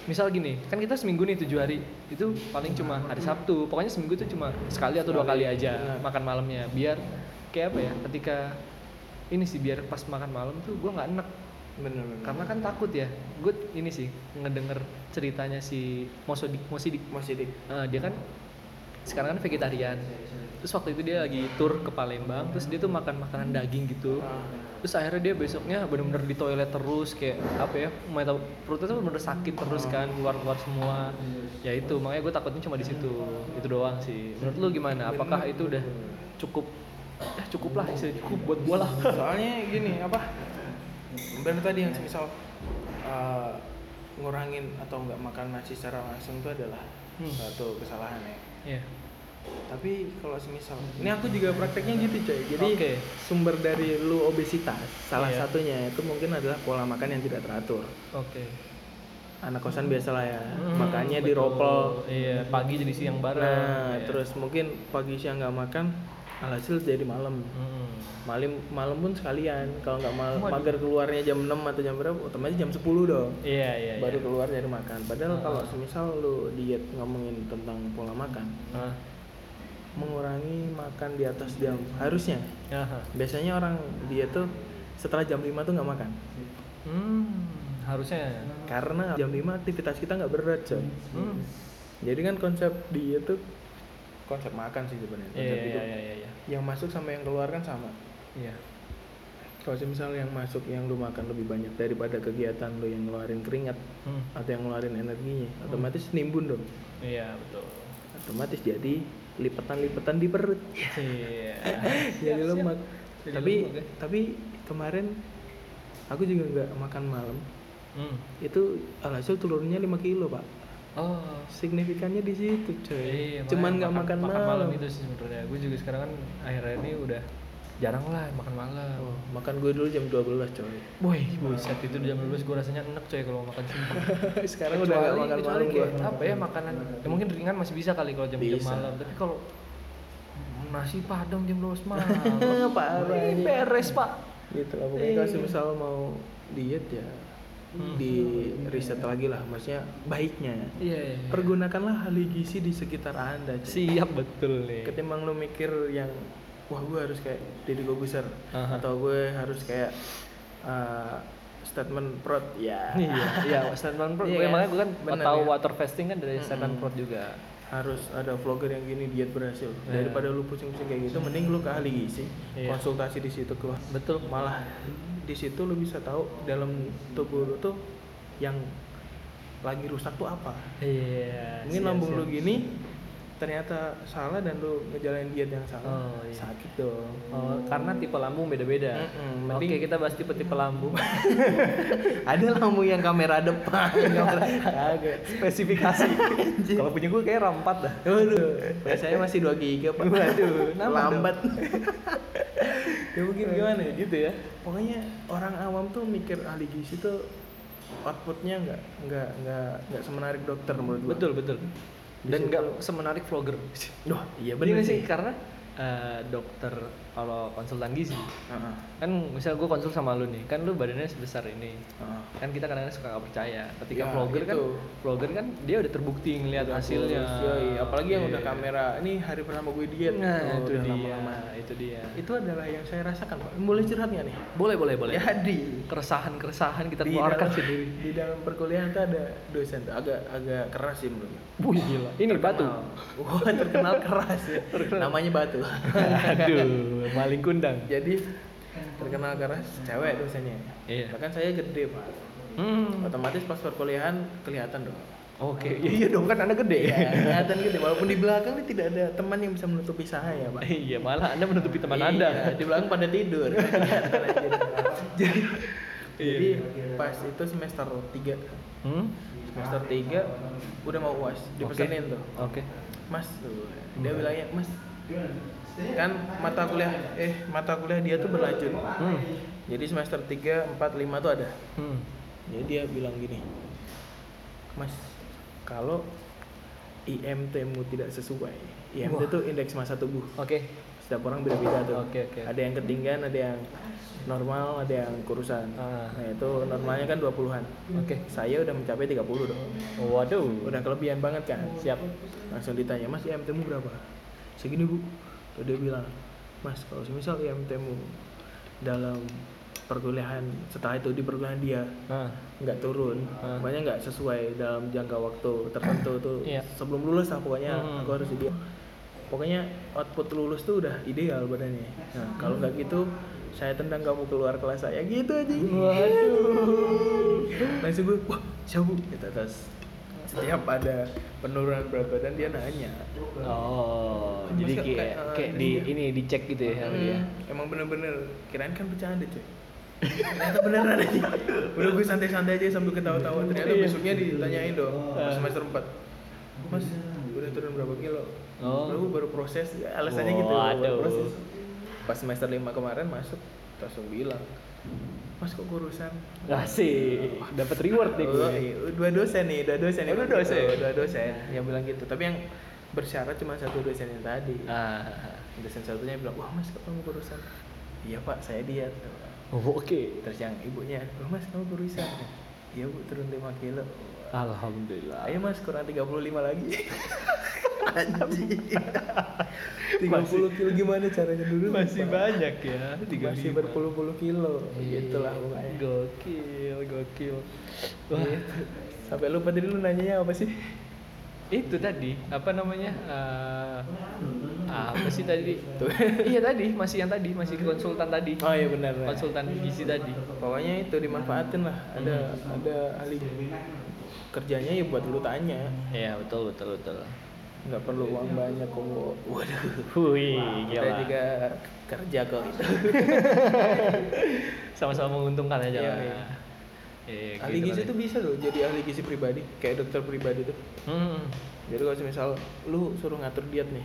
A: misal gini kan kita seminggu nih tujuh hari itu paling cuma hari sabtu pokoknya seminggu itu cuma sekali atau dua
B: Sekali,
A: kali aja
B: benar.
A: makan malamnya biar kayak apa ya ketika ini sih biar pas makan malam tuh gue nggak enak
B: bener bener
A: karena kan takut ya gue ini sih ngedenger ceritanya si Mosodik Mosidik
B: masih dik
A: Eh, dia kan sekarang kan vegetarian terus waktu itu dia lagi tour ke Palembang terus dia tuh makan makanan daging gitu terus akhirnya dia besoknya bener-bener di toilet terus kayak apa ya meta- perutnya tuh bener-bener sakit terus kan keluar-keluar semua ya itu makanya gue takutnya cuma di situ itu doang sih menurut lu gimana apakah itu udah cukup ya cukup lah sih cukup buat gue lah
B: Nah, soalnya gini apa benar tadi yang misal eh, ngurangin atau nggak makan nasi secara langsung itu adalah
A: Hmm.
B: satu kesalahan ya
A: ya
B: tapi kalau semisal ini aku juga prakteknya gitu coy jadi
A: Hmm. Oke.
B: sumber dari lu obesitas salah
A: Iya.
B: satunya itu mungkin adalah pola makan yang tidak teratur
A: oke
B: anak kosan biasalah ya
A: Hmm,
B: makannya di
A: betul.
B: ropel
A: iya pagi jadi siang bareng
B: Nah,
A: Iya.
B: terus mungkin pagi siang nggak makan, alhasil jadi malam
A: Hmm.
B: malam malam pun sekalian kalau nggak mal-
A: Waduh.
B: mager keluarnya jam 6 atau jam berapa otomatis jam 10 dong
A: Iya iya.
B: baru
A: iya.
B: keluar dari makan padahal
A: Ah.
B: kalau semisal lu diet ngomongin tentang pola makan
A: Ah,
B: mengurangi makan di atas jam harusnya
A: ya, ha.
B: biasanya orang diet tuh setelah jam 5 tuh nggak makan
A: Hmm, harusnya.
B: karena jam 5 aktivitas kita nggak berat coy
A: Hmm.
B: jadi kan konsep diet tuh konsep makan sih sebenarnya
A: Iya
B: konsep
A: iya
B: hidup.
A: iya iya. iya.
B: yang masuk sama yang keluar kan sama
A: Iya.
B: kalau misal yang masuk yang lu makan lebih banyak daripada kegiatan lu yang ngeluarin keringat
A: Hmm.
B: atau yang ngeluarin energinya otomatis nimbun dong
A: Iya betul.
B: otomalis jadi lipetan-lipetan di perut
A: Iya. Siap,
B: jadi
A: siap.
B: lemak
A: Jadi
B: tapi
A: lemak, ya.
B: tapi kemarin aku juga nggak makan malam
A: Hmm.
B: itu alhasil turunnya 5 kilo pak
A: Oh.
B: signifikannya di situ coy
A: Iya, makanya
B: cuman nggak makan,
A: makan
B: malam,
A: malam itu sih sebenarnya. Gue juga sekarang kan akhir-akhir ini udah jarang lah makan malam.
B: Oh, makan gue dulu jam 12 coy
A: Boy, buset itu jam 12 gue rasanya enak coy kalau makan sumpah.
B: sekarang udah nggak makan
A: kecuali
B: malam gue
A: kayak apa ya makanan ya mungkin ringan masih bisa kali kalau jam jam
B: Bisa.
A: malam tapi kalau nasi padang jam 12 malam
B: Parah.
A: Wih, beres pak
B: gitu lah pokoknya
A: Iya.
B: kalau semisal mau diet ya
A: Hmm.
B: di riset lagi lah maksudnya baiknya
A: iya iya iya.
B: pergunakanlah ahli gizi di sekitar anda coy.
A: siap betul nih
B: ketimbang lu mikir yang wah gue harus kayak Deddy Kobuser
A: Aha.
B: atau gue harus kayak uh, statement prot ya
A: iya iya statement pro
B: Iya
A: Gue-
B: kan?
A: makanya gue kan
B: Bener
A: tahu
B: ya.
A: water fasting kan dari statement
B: Mm-mm.
A: pro juga
B: harus ada vlogger yang gini diet berhasil
A: Iya.
B: daripada lu pusing-pusing kayak gitu mending lu ke ahli gizi
A: Iya.
B: konsultasi di situ keluar
A: betul
B: malah di situ lu bisa tahu dalam tubuh lu tuh yang lagi rusak tuh apa
A: iya
B: mungkin
A: siap,
B: lambung
A: siap.
B: lu gini ternyata salah dan lu ngejalanin diet yang salah
A: Oh, iya.
B: sakit dong
A: Oh, karena tipe lambung beda-beda.
B: Mm-mm,
A: Oke,
B: mending-
A: kita bahas tipe-tipe lambung.
B: ada lampu yang kamera depan kamera
A: Spesifikasi. Kalau punya gue kayak rampat dah.
B: Waduh, saya masih 2 giga pak Waduh,
A: nambah
B: lambat Ya mungkin gimana ya
A: Gitu ya.
B: Pokoknya orang awam tuh mikir ahli gizi tuh outputnya nggak nggak nggak nggak semenarik dokter menurut gua.
A: Betul, betul. Dan
B: situ-
A: nggak semenarik vlogger.
B: Duh,
A: Iya
B: iya bener
A: sih
B: sih.
A: karena eh, dokter kalau konsultan gizi
B: Heeh,
A: kan misal gue konsul sama lu nih kan lu badannya sebesar ini
B: heeh.
A: kan kita kadang-kadang suka nggak percaya ketika
B: Ya,
A: vlogger kan
B: itu.
A: vlogger kan dia udah terbukti ngelihat
B: Udah
A: hasilnya
B: kurus, yoi. apalagi yang udah
A: Iya.
B: kamera. Ini hari pertama gue diet.
A: nah
B: Oh,
A: itu
B: udah
A: dia
B: lama-lama.
A: itu dia
B: Itu adalah yang saya rasakan, Pak. Boleh curhat nggak nih?
A: boleh boleh boleh
B: Jadi,
A: keresahan-keresahan kita keluarkan
B: dalam,
A: sendiri
B: di dalam perkuliahan tuh ada dosen tuh agak agak keras sih menurut gue.
A: Wih gila, ini batu.
B: Wah terkenal keras ya. Namanya batu.
A: Aduh, maling kundang.
B: Jadi terkenal keras cewek dosennya.
A: Iya.
B: Bahkan saya gede pak.
A: Hmm.
B: Otomatis pas perkuliahan kelihatan dong.
A: Oke,
B: Iya, iya dong kan anda gede. Ya, kelihatan gede. Walaupun di belakang ini tidak ada teman yang bisa menutupi saya pak.
A: Iya, malah Anda menutupi teman
B: Iya,
A: Anda.
B: Di belakang pada tidur. Kelihatan aja. Jadi jadi pas itu semester 3
A: Iya. Hmm?
B: semester 3 udah mau uas dipesenin tuh
A: Oke.
B: mas tuh
A: ya.
B: dia bilangnya mas kan mata kuliah eh mata kuliah dia tuh berlanjut
A: Hmm.
B: jadi semester 3, 4, 5 tuh ada
A: Hmm.
B: jadi dia bilang gini mas kalau IMT-mu tidak sesuai IMT
A: Wah.
B: tuh indeks massa tubuh
A: Oke.
B: setiap orang beda-beda tuh
A: Oke, oke.
B: ada yang ketinggian ada yang normal ada yang kurusan
A: Ah.
B: nah itu normalnya kan 20-an
A: Oke.
B: saya udah mencapai 30 dong
A: Waduh.
B: udah kelebihan banget kan
A: Siap.
B: langsung ditanya mas IMT mu berapa segini bu Terus dia bilang mas kalau semisal IMT mu dalam perkuliahan setelah itu di perkuliahan dia
A: Nah.
B: nggak turun
A: Ah.
B: makanya nggak sesuai dalam jangka waktu tertentu tuh
A: Iya.
B: sebelum lulus lah pokoknya
A: Hmm.
B: aku harus dia pokoknya output lulus tuh udah ideal badannya nah kalau nggak gitu saya tendang kamu keluar kelas saya gitu aja
A: Waduh.
B: langsung gue wah siapa kita terus setiap ada penurunan berat badan dia nanya
A: Oh, jadi
B: Mas,
A: kayak
B: kayak,
A: kayak
B: eh,
A: di
B: iya.
A: ini dicek gitu ya sama dia.
B: Hmm, emang bener-bener kirain kan bercanda cuy ternyata beneran aja udah gue santai-santai aja sambil ketawa-tawa ternyata
A: Iya.
B: besoknya ditanyain dong pas
A: Ah.
B: semester 4 mas udah turun berapa kilo
A: Oh.
B: lu baru proses Ya, alasannya gitu
A: Waduh.
B: baru proses pas semester 5 kemarin masuk langsung bilang mas kok kurusan
A: Hmm. Asik. Dapat reward nih gue.
B: Oh, iya. dua dosen nih, dua dosen.
A: Oh,
B: nih.
A: dua dosen.
B: Oh, dua dosen yang bilang gitu. Tapi yang bersyarat cuma satu dosen yang tadi.
A: Ah.
B: dosen satunya bilang wah mas kapan mau kurusan iya pak saya diet
A: Oh, oke.
B: terus yang ibunya wah mas kamu kurusan iya bu turun 5 kilo
A: Alhamdulillah.
B: ayo mas kurang 35 lagi Anjing. 30
A: Masih-
B: kilo gimana caranya dulu
A: Masih banyak ya.
B: masih
A: 35.
B: berpuluh-puluh kilo
A: Iya,
B: gitulah pokoknya
A: Gokil, gokil. Wah,
B: sampai lupa tadi lu nanyanya apa sih
A: itu tadi apa namanya? eh, ah, apa sih tadi? iya tadi, masih yang tadi, masih konsultan tadi.
B: oh iya benar benar.
A: Konsultan gizi tadi.
B: pokoknya itu dimanfaatin lah ada
A: Hmm.
B: ada ahli kerjanya ya buat lu tanya
A: Iya, betul betul betul.
B: nggak perlu uang banyak kok waduh
A: Hui,
B: kita juga kerja kok gitu
A: Sama-sama menguntungkan aja
B: Iya,
A: lah.
B: iya.
A: Iya,
B: ahli
A: gitu
B: gizi
A: kan.
B: tuh bisa loh jadi ahli gizi pribadi kayak dokter pribadi tuh
A: Hmm.
B: jadi kalau misal lu suruh ngatur diet nih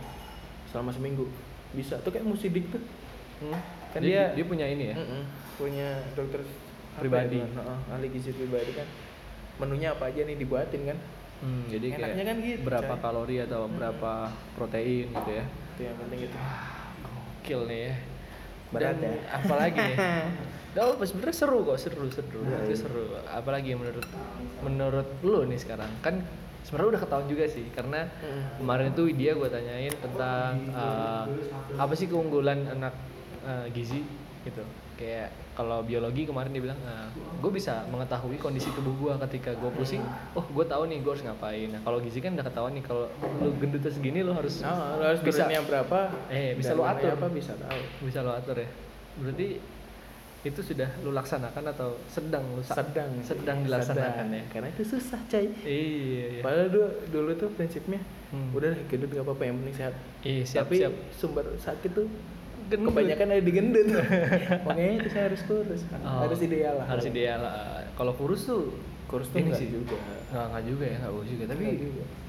B: selama seminggu bisa tuh kayak musidik tuh
A: Hmm.
B: Kan
A: Jadi
B: dia-
A: dia punya ini ya.
B: Mm-mm. punya dokter apa
A: Pribadi.
B: ya, Bang? Heeh, ahli gizi pribadi kan menunya apa aja nih dibuatin kan
A: Hmm, jadi kayak
B: Enaknya kan gitu,
A: berapa
B: coy.
A: kalori atau
B: Hmm.
A: berapa protein gitu ya.
B: itu yang penting itu
A: Ah, Kill nih ya.
B: Berat
A: Dan
B: ya.
A: apalagi nih. Duh, sebenarnya seru kok, seru, seru.
B: Nah, iya.
A: Itu seru. Apalagi yang menurut menurut lu nih sekarang kan sebenarnya udah ketahuan juga sih karena
B: Mm.
A: kemarin itu dia gue tanyain tentang eh, apa sih keunggulan anak eh, gizi gitu kayak kalau biologi kemarin dia bilang gue bisa mengetahui kondisi tubuh gue ketika gue pusing oh gue tahu nih gue harus ngapain nah kalau gizi kan udah ketahuan nih kalau lu gendutnya segini lu harus
B: Nah, lu harus
A: Bisa.
B: bisa yang berapa?
A: Eh, bisa
B: dan
A: lu
B: namanya
A: atur.
B: Apa bisa tahu?
A: bisa lo atur ya berarti itu sudah lu laksanakan atau sedang lu sa-
B: Sedang.
A: sedang dilaksanakan
B: Sedang.
A: ya
B: Karena itu susah, coy.
A: iya iya
B: Padahal dulu, dulu tuh prinsipnya
A: Hmm.
B: udah lah, gendut gak apa-apa yang penting sehat.
A: iya siap
B: Tapi
A: siap Mm-hmm.
B: sumber sakit tuh
A: Gendut.
B: kebanyakan ada di gendut. Makanya itu saya harus kurus.
A: Oh,
B: Harus ideal lah.
A: harus ideal lah. kalau kurus tuh
B: Kurus tuh
A: ini
B: enggak
A: sih
B: juga.
A: nggak nggak juga ya nggak bagus juga tapi
B: Nggak juga. Hmm.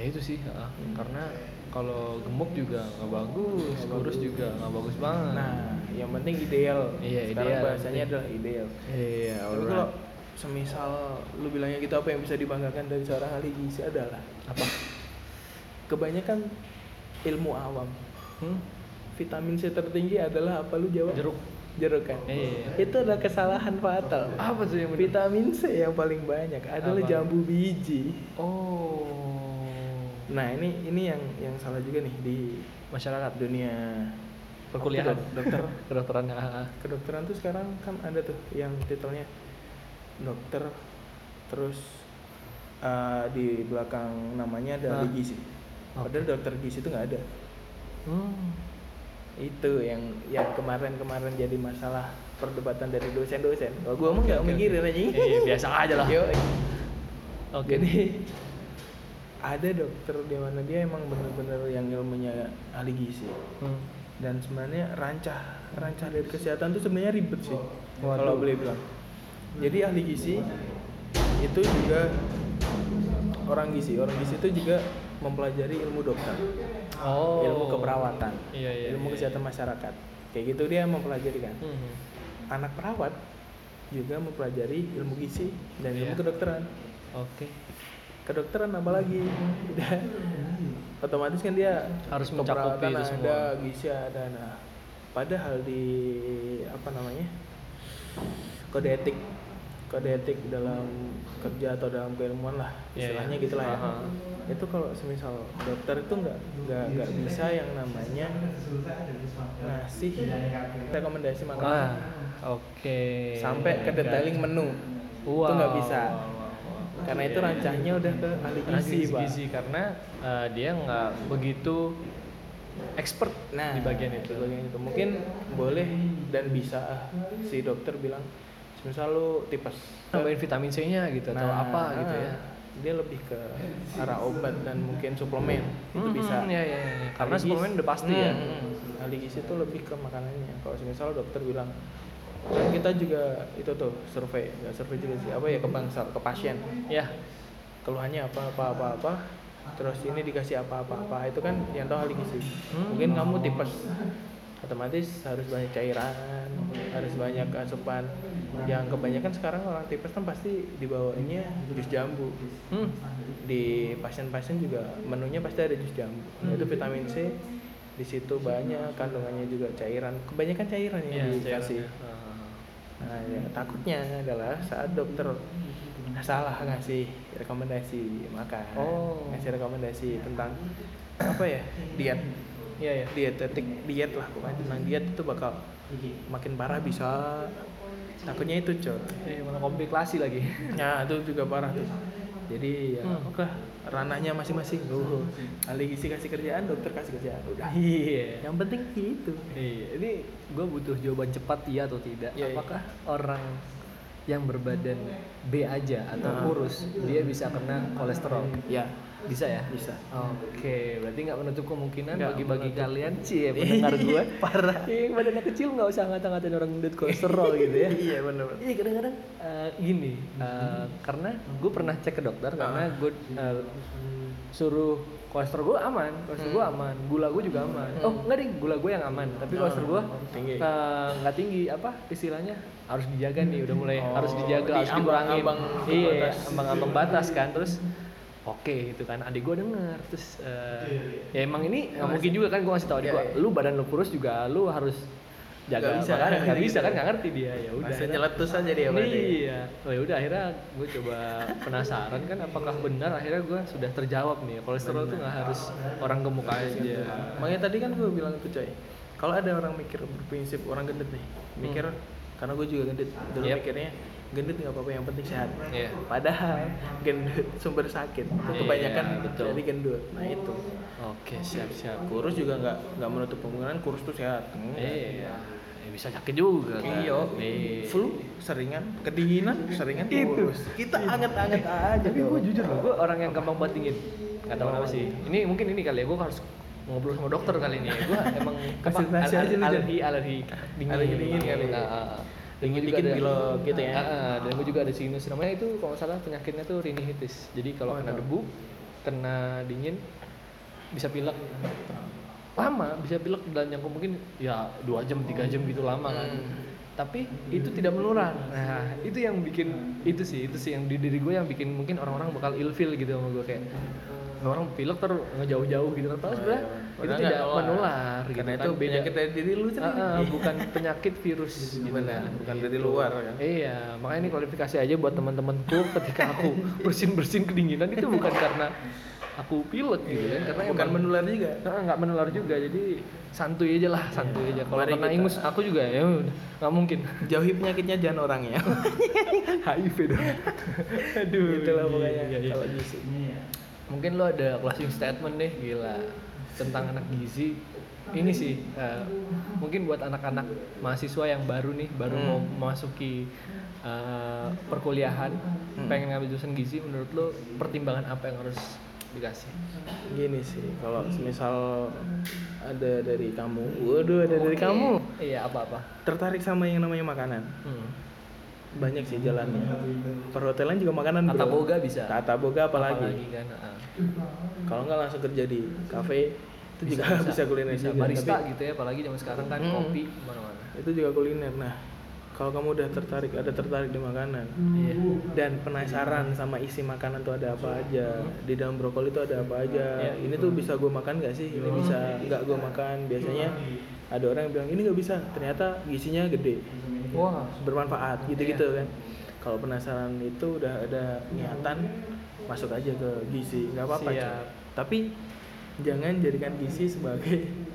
A: ya itu sih ah. karena kalau gemuk juga nggak bagus kurus juga nggak bagus banget
B: Nah, yang penting ideal.
A: Iya,
B: Sekarang
A: ideal.
B: bahasanya adalah ideal.
A: iya
B: Tapi kalau semisal lu bilangnya gitu apa yang bisa dibanggakan dari seorang ahli gizi adalah
A: apa
B: kebanyakan ilmu awam.
A: hmm?
B: Vitamin C tertinggi adalah apa lu jawab?
A: jeruk
B: Jeruk kan?
A: Iya.
B: Itu adalah kesalahan fatal.
A: apa tuh yang bener?
B: Vitamin C yang paling banyak adalah
A: Apa?
B: jambu biji.
A: oh
B: Nah ini ini yang yang salah juga nih di
A: masyarakat
B: dunia
A: perkuliahan
B: Apa tuh, dokter
A: kedokteran ah, ah.
B: kedokteran tuh sekarang kan ada tuh yang titelnya dokter terus eh, di belakang namanya ada ahli
A: Ah.
B: gizi. Padahal dokter gizi itu nggak ada.
A: Hmm.
B: itu yang yang kemarin-kemarin jadi masalah perdebatan dari dosen-dosen. Kalau gue emang nggak
A: Oke, oke,
B: mikirin
A: oke.
B: anjing.
A: Iya, iya, biasa aja lah.
B: Yo,
A: Oke.
B: Jadi ada dokter di mana dia emang bener-bener yang ilmunya ahli gizi
A: Hmm.
B: dan sebenarnya rancah rancah dari kesehatan tuh sebenarnya ribet sih
A: Waduh.
B: kalau boleh bilang. Jadi ahli gizi itu juga orang gizi orang gizi itu juga mempelajari ilmu dokter
A: Oh.
B: ilmu keperawatan,
A: Iya, iya, iya,
B: ilmu kesehatan masyarakat. Kayak gitu dia mempelajari kan.
A: Hmm.
B: Anak perawat juga mempelajari ilmu gizi dan
A: Iya.
B: ilmu kedokteran.
A: Oke.
B: Kedokteran apalagi? Udah. Otomatis kan dia
A: Harus
B: keperawatan
A: mencakupi itu semua.
B: Ada gizi ada nah. Padahal di apa namanya? Kode etik kode etik dalam kerja atau dalam keilmuan lah
A: Iya,
B: istilahnya
A: iya.
B: gitulah ya
A: Aha.
B: itu kalau semisal dokter itu nggak nggak nggak bisa yang namanya ngasih rekomendasi
A: Ah,
B: makanan
A: oke.
B: sampai ke detailing menu
A: Wow.
B: itu nggak bisa karena itu
A: Iya, iya.
B: rancahnya udah ke ahli
A: Karena
B: gizi pak
A: gizi karena eh, dia nggak begitu expert
B: nah
A: di bagian itu.
B: di bagian itu mungkin boleh dan bisa ah, si dokter bilang semisal lu tipes
A: Tambahin vitamin C-nya gitu atau
B: Nah,
A: apa gitu ya.
B: dia lebih ke arah obat dan mungkin suplemen itu
A: Hmm,
B: bisa
A: iya, iya, iya. Karena
B: Ahli gizi-
A: suplemen udah pasti ya.
B: Hmm, hmm. ahli gizi itu lebih ke makanannya kalau misal dokter bilang kan kita juga itu tuh survei nggak survei juga sih apa ya ke bangsa ke pasien
A: Ya.
B: keluhannya apa apa apa apa terus ini dikasih apa apa apa itu kan yang tahu ahli gizi
A: Hmm.
B: mungkin kamu tipes otomatis harus banyak cairan harus banyak asupan yang kebanyakan sekarang orang tipes kan pasti dibawanya jus jambu
A: Hmm. Hmm.
B: di pasien-pasien juga menunya pasti ada jus jambu itu Nah, vitamin C di situ banyak kandungannya juga cairan kebanyakan cairan
A: Iya,
B: yang dikasih
A: cairannya. Ah.
B: nah ya, takutnya adalah saat dokter salah ngasih rekomendasi makan
A: Oh.
B: ngasih rekomendasi tentang apa ya diet
A: Iya ya.
B: dietetik diet lah pokoknya tentang diet itu bakal makin parah bisa takutnya itu coy
A: Eh, malah komplikasi lagi.
B: Nah itu juga parah tuh. Jadi ya
A: Hmm.
B: oke ranahnya masing-masing. Oh, ahli gizi kasih kerjaan, dokter kasih kerjaan. Udah.
A: Iya.
B: Yang penting itu.
A: Iya, ini gue butuh jawaban cepat iya atau tidak.
B: Iya, iya.
A: Apakah orang yang berbadan B aja atau
B: Nah.
A: kurus dia bisa kena kolesterol?
B: Ya
A: Bisa ya?
B: bisa.
A: Oke, berarti nggak menutup kemungkinan
B: Nggak
A: bagi-bagi
B: menutup.
A: kalian sih pendengar
B: Iya.
A: gue.
B: Parah.
A: Yang badannya kecil nggak usah ngata-ngatain orang gendut kolesterol gitu ya.
B: iya benar.
A: Iya kadang-kadang eh, gini, eh, karena gue pernah cek ke dokter karena
B: Ah.
A: gue eh, suruh kolesterol gue aman, kolesterol gue aman, gula gue juga aman.
B: Hmm.
A: Oh enggak deh, gula gue yang aman, tapi
B: Mm-hmm. Ah,
A: kolesterol gue
B: tinggi.
A: eh, nggak tinggi apa istilahnya harus dijaga nih, udah mulai
B: Oh,
A: harus dijaga,
B: di
A: harus dikurangin.
B: ambang-ambang
A: Iya,
B: batas. Mm-hmm.
A: ambang-ambang batas kan, terus Oke itu kan adik gue denger terus eh, ya emang ini nggak mungkin juga kan gue ngasih tau adik
B: Iya,
A: gue lu badan lu kurus juga lu harus jaga
B: Nggak bisa. Iya,
A: makanan nggak bisa kan nggak ngerti dia ya udah
B: Udah
A: akhirnya-
B: nyeletus aja dia berarti.
A: iya oh, ya udah akhirnya gue coba penasaran kan apakah benar akhirnya gue sudah terjawab nih kolesterol tuh nggak harus orang gemuk aja
B: Makanya tadi kan gue bilang tuh coy. Kalau ada orang mikir berprinsip orang gendut nih, mikir karena gue juga gendut dulu
A: Yep.
B: mikirnya gendut nggak apa-apa yang penting sehat.
A: Iya.
B: Padahal gendut sumber sakit
A: Iya,
B: kebanyakan
A: betul.
B: dari gendut. Nah itu
A: oke siap siap
B: kurus juga nggak nggak menutup kemungkinan kurus tuh sehat.
A: iya Ya, bisa sakit juga kan
B: Iya,
A: Iya.
B: flu seringan, kedinginan seringan kurus. Kita anget-anget aja.
A: tapi
B: dong.
A: gue jujur loh gue orang yang gampang banget dingin nggak tahu
B: Oh.
A: kenapa sih ini mungkin ini kali ya gue harus ngobrol sama dokter kali ini ya gue emang al-
B: Konsultasi aja lu,
A: al-
B: Jan.
A: alergi alergi dingin
B: Alergi dingin kali ya.
A: Nah, ah, ah. Dan gua juga
B: Dikit-dikit
A: ada-
B: pilek gitu ya.
A: Ah, ah, dan gue juga ada sinus namanya itu kalau nggak salah penyakitnya tuh rinitis jadi kalau
B: Oh,
A: kena
B: iya.
A: debu kena dingin bisa pilek lama bisa pilek dalam jangka mungkin ya dua jam tiga jam gitu lama kan
B: Hmm.
A: tapi itu tidak menular nah itu yang bikin itu sih itu sih yang di diri gue yang bikin mungkin orang-orang bakal ilfil gitu sama gue kayak "Nah, orang pilek ter ngejauh-jauh gitu kan padahal sebenarnya itu
B: Iya, Oh, Padahal
A: tidak
B: nggak
A: menular gitu
B: Karena
A: kan.
B: itu penyakit dari diri lu
A: Ah,
B: sendiri. Iya,
A: ah, bukan penyakit virus gitu
B: Benar,
A: kan.
B: bukan dari luar kan.
A: Iya, makanya ini klarifikasi aja buat teman-temanku ketika aku bersin-bersin kedinginan itu bukan karena aku pilek gitu kan, karena
B: bukan
A: emang-
B: menular juga.
A: Nah, nggak menular juga jadi santuy aja lah santuy aja kalau
B: Iya, mari
A: kena
B: kita-
A: ingus aku juga ya udah, nggak mungkin
B: Jauhi penyakitnya jangan orangnya.
A: HIV dong aduh
B: Itulah Gitu pokoknya
A: iya, iya.
B: kalau gizi.
A: mungkin lo ada closing statement deh gila tentang anak gizi ini sih eh, mungkin buat anak-anak mahasiswa yang baru nih baru
B: Hmm.
A: mau memasuki eh, perkuliahan
B: Hmm.
A: pengen ngambil jurusan gizi menurut lo pertimbangan apa yang harus dikasih
B: Gini sih, kalau semisal ada dari kamu, waduh ada dari kamu
A: iya apa-apa
B: tertarik sama yang namanya makanan.
A: hmm.
B: Banyak sih jalannya. Perhotelan juga makanan,
A: Tata
B: Bro.
A: boga bisa
B: Tata boga apalagi.
A: apalagi kan ah.
B: Kalau nggak langsung kerja di kafe itu
A: Bisa,
B: juga bisa, kuliner
A: bisa
B: juga.
A: barista
B: Iya, Tapi
A: gitu ya apalagi zaman sekarang kan
B: Hmm.
A: kopi mana-mana
B: itu juga kuliner. Nah, kalau kamu udah tertarik, ada tertarik di makanan,
A: iya
B: dan penasaran sama isi makanan tuh ada apa aja di dalam brokoli tuh ada apa aja
A: Iya.
B: ini tuh bisa gue makan gak sih ini bisa nggak gue makan biasanya ada orang yang bilang ini nggak bisa ternyata gisinya gede
A: wah
B: bermanfaat gitu-gitu kan kalau penasaran itu udah ada niatan masuk aja ke gizi nggak apa-apa
A: Siap.
B: cuy. tapi jangan jadikan gizi sebagai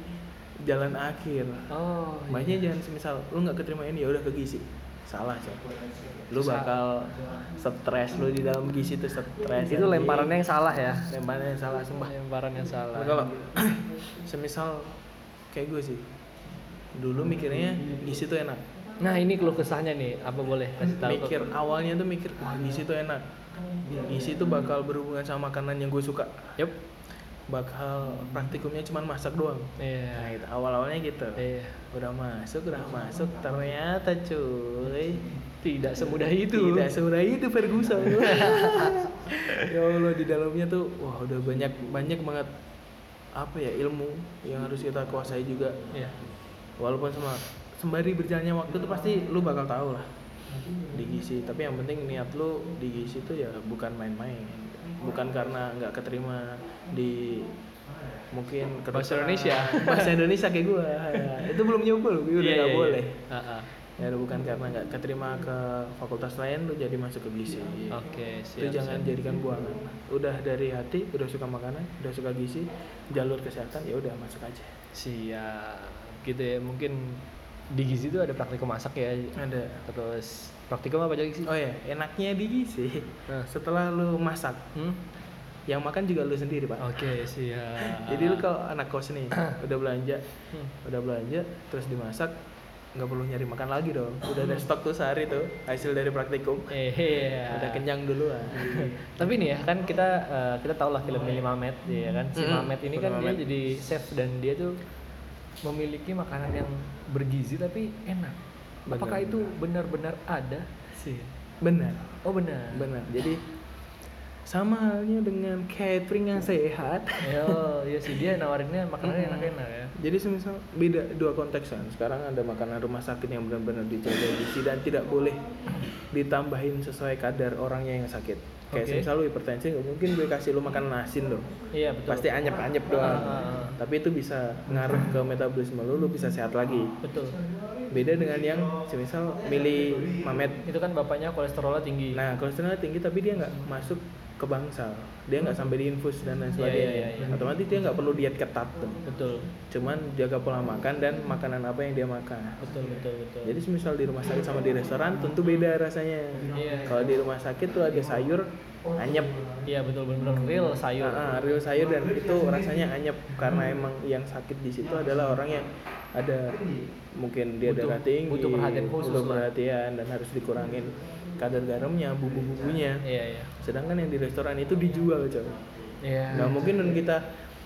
B: jalan akhir
A: oh iya.
B: Makanya jangan semisal lu nggak keterima ini ya udah ke gizi. Salah sih. Lu
A: Sa-
B: bakal stres lu di dalam gizi tuh stres.
A: itu
B: anjing.
A: lemparannya yang salah ya
B: lemparannya yang salah sumpah.
A: lemparan yang salah
B: Tapi Kalau semisal kayak gue sih. Dulu mikirnya gizi tuh enak.
A: nah ini keluh kesahnya nih apa boleh kasih tahu ke-
B: Mikir awalnya tuh mikir wah gizi tuh enak. Gizi tuh bakal berhubungan sama makanan yang gue suka.
A: Yup.
B: Bakal praktikumnya cuman masak doang. Nah,
A: iya
B: itu awal-awalnya gitu.
A: iya
B: Udah masuk, udah masuk, ternyata cuy
A: tidak semudah itu
B: Tidak semudah itu Ferguson. ya Allah di dalamnya tuh wah udah banyak banyak banget apa ya ilmu yang harus kita kuasai juga.
A: iya
B: Walaupun sama sembari berjalannya waktu tuh pasti lu bakal tahu lah di gizi. Tapi yang penting niat lu di gizi tuh ya bukan main-main. bukan karena nggak keterima di mungkin ke
A: Bahasa Indonesia.
B: bahasa Indonesia kayak gua ya. itu belum nyoba loh gue udah
A: Iya,
B: nggak
A: iya, iya.
B: boleh
A: Ah, ah.
B: ya udah bukan karena nggak keterima ke fakultas lain lu jadi masuk ke gizi
A: Oke,
B: itu
A: Iya, siap.
B: jangan
A: siap.
B: jadikan buangan udah dari hati udah suka makanan udah suka gizi jalur kesehatan ya udah masuk aja
A: Siap. Gitu ya, mungkin di gizi itu ada praktikum masak ya.
B: ada
A: Terus praktikum apa aja sih?
B: oh ya enaknya di gizi
A: Nah.
B: setelah lu masak
A: Hmm?
B: yang makan juga lu sendiri pak
A: Oke, siap.
B: jadi lu kalau anak kos nih udah belanja
A: Hmm.
B: udah belanja terus dimasak nggak perlu nyari makan lagi dong udah ada stok tuh sehari tuh hasil dari praktikum
A: Eh, iya.
B: udah kenyang duluan
A: Tapi nih ya kan kita eh, kita tahu lah filmnya 5 Mamet ya kan. Si
B: Oh, iya. Mm-mm.
A: Mamet ini
B: Film
A: kan dia
B: Mamet.
A: jadi chef dan dia tuh memiliki makanan yang bergizi tapi enak. Apakah
B: Benar.
A: itu benar-benar ada?
B: sih benar
A: Oh benar.
B: benar jadi sama halnya dengan catering yang sehat
A: Oh iya sih dia nawarinnya makanannya
B: Mm-mm. Iya,
A: enak-enak ya.
B: jadi semisal beda dua konteks kan sekarang ada makanan rumah sakit yang benar-benar dijaga gizi dan tidak boleh ditambahin sesuai kadar orangnya yang sakit kayak
A: Oke.
B: semisal lu hipertensi nggak mungkin gue kasih lu makanan asin dong
A: Iya betul.
B: pasti anyep-anyep doang
A: Ah, ah, ah.
B: tapi itu bisa ngaruh ke metabolisme lu lu bisa sehat lagi
A: Betul.
B: beda dengan yang semisal milih mamet
A: Itu kan bapaknya kolesterolnya tinggi.
B: nah kolesterolnya tinggi tapi dia nggak masuk ke bangsal dia nggak sampai diinfus dan lain
A: Iya,
B: sebagainya
A: iya, iya, iya.
B: otomatis dia nggak perlu diet ketat tuh
A: Betul.
B: cuman jaga pola makan dan makanan apa yang dia makan
A: Betul betul betul.
B: jadi semisal di rumah sakit sama di restoran tentu beda rasanya
A: Iya.
B: kalau di rumah sakit tuh ada sayur anyep
A: Iya betul benar real sayur.
B: Ah, ah, real sayur dan itu rasanya anyep karena emang yang sakit di situ adalah orang yang ada mungkin dia
A: Butuh-
B: darah tinggi,
A: butuh perhatian khusus
B: butuh
A: lah.
B: perhatian dan harus dikurangin kadar garamnya, bumbu-bumbunya.
A: Iya iya.
B: Sedangkan yang di restoran itu dijual coy.
A: Iya.
B: Nggak mungkin dong kita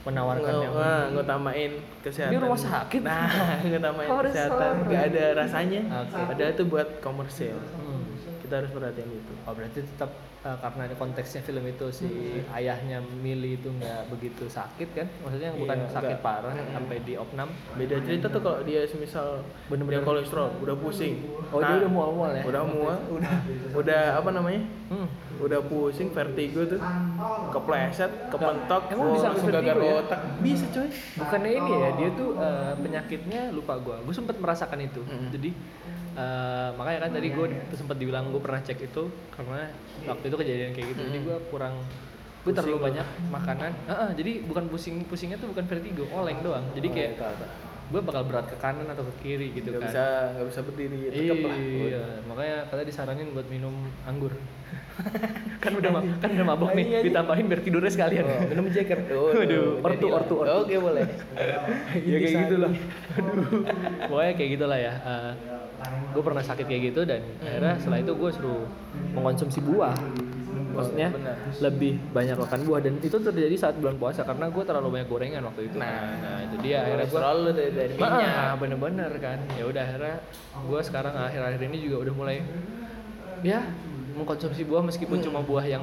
A: menawarkan
B: nge-
A: yang
B: ah, ngetamain kesehatan.
A: Ini rumah sakit.
B: Nah, ngetamain
A: Oh,
B: kesehatan
A: restoran.
B: nggak ada rasanya.
A: Oke.
B: Padahal itu buat komersil.
A: Hmm.
B: Kita harus perhatiin itu.
A: Oh berarti tetap eh, karena ada konteksnya film itu si
B: Hmm.
A: ayahnya Mili itu nggak begitu sakit kan? Maksudnya yang bukan
B: Iya,
A: sakit
B: nggak.
A: parah sampai di opnam.
B: beda cerita tuh kalau dia semisal
A: Bener-bener.
B: bener-bener kolesterol udah pusing Nah,
A: Oh, dia udah mual-mual ya?
B: udah mual udah udah apa namanya
A: Hmm.
B: udah pusing vertigo tuh kepleset kepentok
A: Emang
B: wah,
A: bisa
B: langsung
A: sampai
B: gagal
A: vertigo ya?
B: otak bisa coy
A: Bukannya ini ya dia tuh eh, penyakitnya lupa gua. Gue sempat merasakan itu.
B: Mm-mm.
A: Jadi eh, makanya kan tadi gue sempat dibilang gue pernah cek itu karena waktu itu kejadian kayak gitu. Jadi
B: Mm-mm.
A: gue kurang gue
B: Pusing
A: terlalu
B: lu.
A: banyak makanan. Eh, eh, jadi bukan pusing pusingnya tuh bukan vertigo, oleng doang. Jadi kayak
B: Otak, otak.
A: gue bakal berat ke kanan atau ke kiri gitu
B: iya, nggak
A: kan.
B: bisa nggak bisa berdiri tekep Ya, lah
A: Iya, makanya katanya disaranin buat minum anggur. kan udah ma- kan udah mabok nih,
B: Iya, iya.
A: ditambahin biar tidurnya sekalian.
B: Oh, minum jager oh,
A: Iya. Waduh, ortu,
B: jadilah.
A: ortu, ortu.
B: oke boleh
A: ya kayak gitulah. Aduh. Pokoknya kayak gitulah ya. gue pernah sakit kayak gitu dan akhirnya setelah itu gue suruh mengkonsumsi buah. Maksudnya
B: Oh, Benar.
A: lebih banyak makan buah dan itu terjadi saat bulan puasa karena gue terlalu banyak gorengan waktu itu.
B: Nah,
A: nah itu dia akhirnya gue
B: kolesterol lu dari, dari
A: Nah,
B: minyak
A: bener-bener kan. Ya udah akhirnya gue sekarang akhir-akhir ini juga udah mulai ya mengkonsumsi buah meskipun cuma buah yang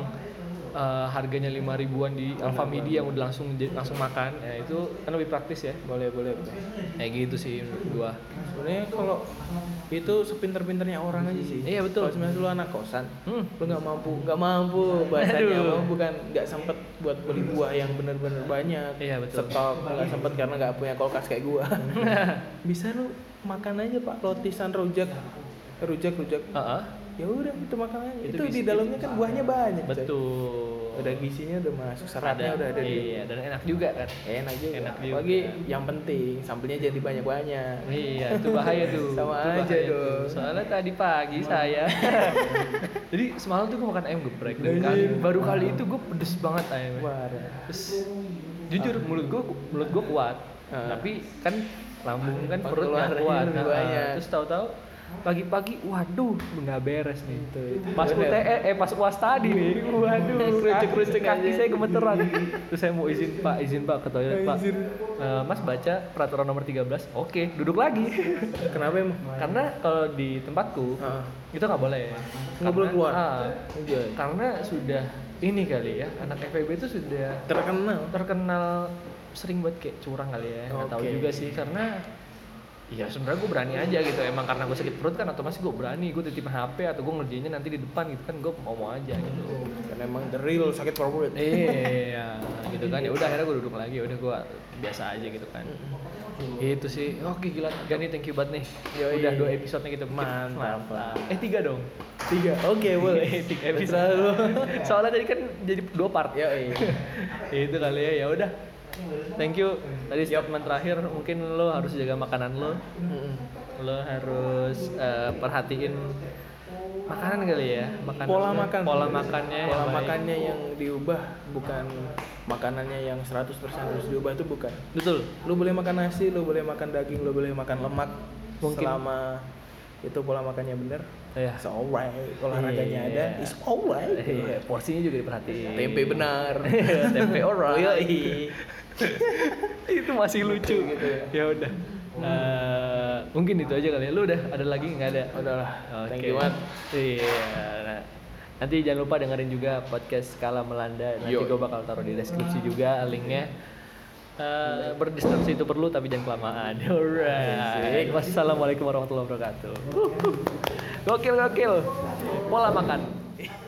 A: eh, harganya lima ribuan di Alfamidi yang udah langsung langsung makan. Ya itu kan lebih praktis ya.
B: boleh boleh boleh.
A: Kayak gitu sih menurut gua.
B: sebenarnya kalau itu sepinter-pinternya orang aja sih
A: Iya, betul.
B: kalau sebenarnya lu anak kosan
A: Hmm.
B: lu nggak mampu nggak mampu bahasanya
A: Aduh.
B: mampu bukan nggak sempet buat beli buah yang bener-bener banyak
A: Iya, betul.
B: stok nggak sempet karena nggak punya kulkas kayak gua bisa lu makan aja pak rotisan rujak rujak rujak
A: Heeh.
B: ya udah itu makan aja
A: Itu
B: itu,
A: gizi,
B: di dalamnya kan buahnya banyak coy.
A: betul.
B: udah gizinya udah masuk seratnya udah ada di
A: Iya, dan enak juga kan.
B: enak juga Iya.
A: Enak juga.
B: apalagi yang penting sampelnya jadi banyak-banyak
A: Iya, itu bahaya tuh.
B: Sama
A: Itu
B: aja
A: bahaya
B: dong.
A: tuh. Soalnya tadi pagi saya. Jadi semalam tuh gue makan ayam geprek dan kan
B: Anjir.
A: baru kali itu gue pedes banget ayamnya.
B: Parah.
A: Terus
B: iya.
A: jujur mulut gue mulut gue kuat.
B: Ah.
A: Tapi kan lambung kan
B: Emang
A: perut nggak
B: keluarnya
A: kuat.
B: lebih
A: Nah,
B: banyak.
A: terus tahu-tahu pagi-pagi waduh nggak beres nih
B: Itu, itu.
A: pas
B: Bener. Iya.
A: UTE eh pas uas tadi nih waduh
B: Kerucuk-kerucuk
A: kaki
B: aja. Iya.
A: saya gemeteran terus saya mau izin pak izin pak ke toilet pak
B: Anjir.
A: Eh, mas baca peraturan nomor 13 oke duduk lagi
B: Kenapa emang?
A: karena kalau di tempatku
B: Kan- Heeh.
A: itu nggak boleh
B: Nggak boleh Ah. keluar?
A: Ah,
B: Iya.
A: karena sudah ini kali ya anak FEB itu sudah
B: Terkenal.
A: terkenal sering buat kayak curang kali ya nggak tahu
B: Oke.
A: juga sih karena Iya sebenarnya gue berani aja gitu emang karena gue sakit perut kan otomatis gue berani gue titip HP atau gue ngerjainnya nanti di depan gitu kan gue ngomong aja gitu
B: Karena emang the real sakit perut.
A: iya gitu kan ya udah akhirnya gue duduk lagi udah gue biasa aja gitu kan itu sih oke gila Gani thank you banget nih
B: Yoi.
A: udah dua episode nih kita bikin.
B: Mantap lah.
A: eh tiga dong
B: Tiga. Oke, boleh.
A: tiga episode soalnya tadi kan jadi dua part
B: Ya iya.
A: itu kali ya ya udah thank you tadi statement terakhir mungkin lo harus jaga makanan lo lo harus eh, perhatiin makanan kali ya makanan
B: Nah, Pola
A: lo,
B: makan.
A: pola makannya yang
B: Pola
A: baik.
B: makannya yang diubah bukan makanannya yang 100% harus diubah itu bukan.
A: betul
B: Lu boleh makan nasi, lu boleh makan daging, lu boleh makan lemak.
A: Mungkin.
B: Selama itu pola makannya bener.
A: ya
B: It's alright. Olahraganya
A: Iya.
B: ada. It's alright.
A: Iya, porsinya juga diperhatiin
B: Tempe benar.
A: Tempe alright.
B: Yoi.
A: itu masih lucu gitu ya udah Eh, mungkin itu aja kali ya lu udah ada lagi nggak ada
B: Udahlah.
A: Oke.
B: Thank you, Mat.
A: Iya. nah. Nanti jangan lupa dengerin juga podcast Skala Melanda. Nanti
B: Yo.
A: gue bakal taruh di deskripsi juga linknya. Eh berdistansi itu perlu tapi jangan kelamaan. Alright. Wassalamualaikum warahmatullahi wabarakatuh. Gokil gokil. Pola makan.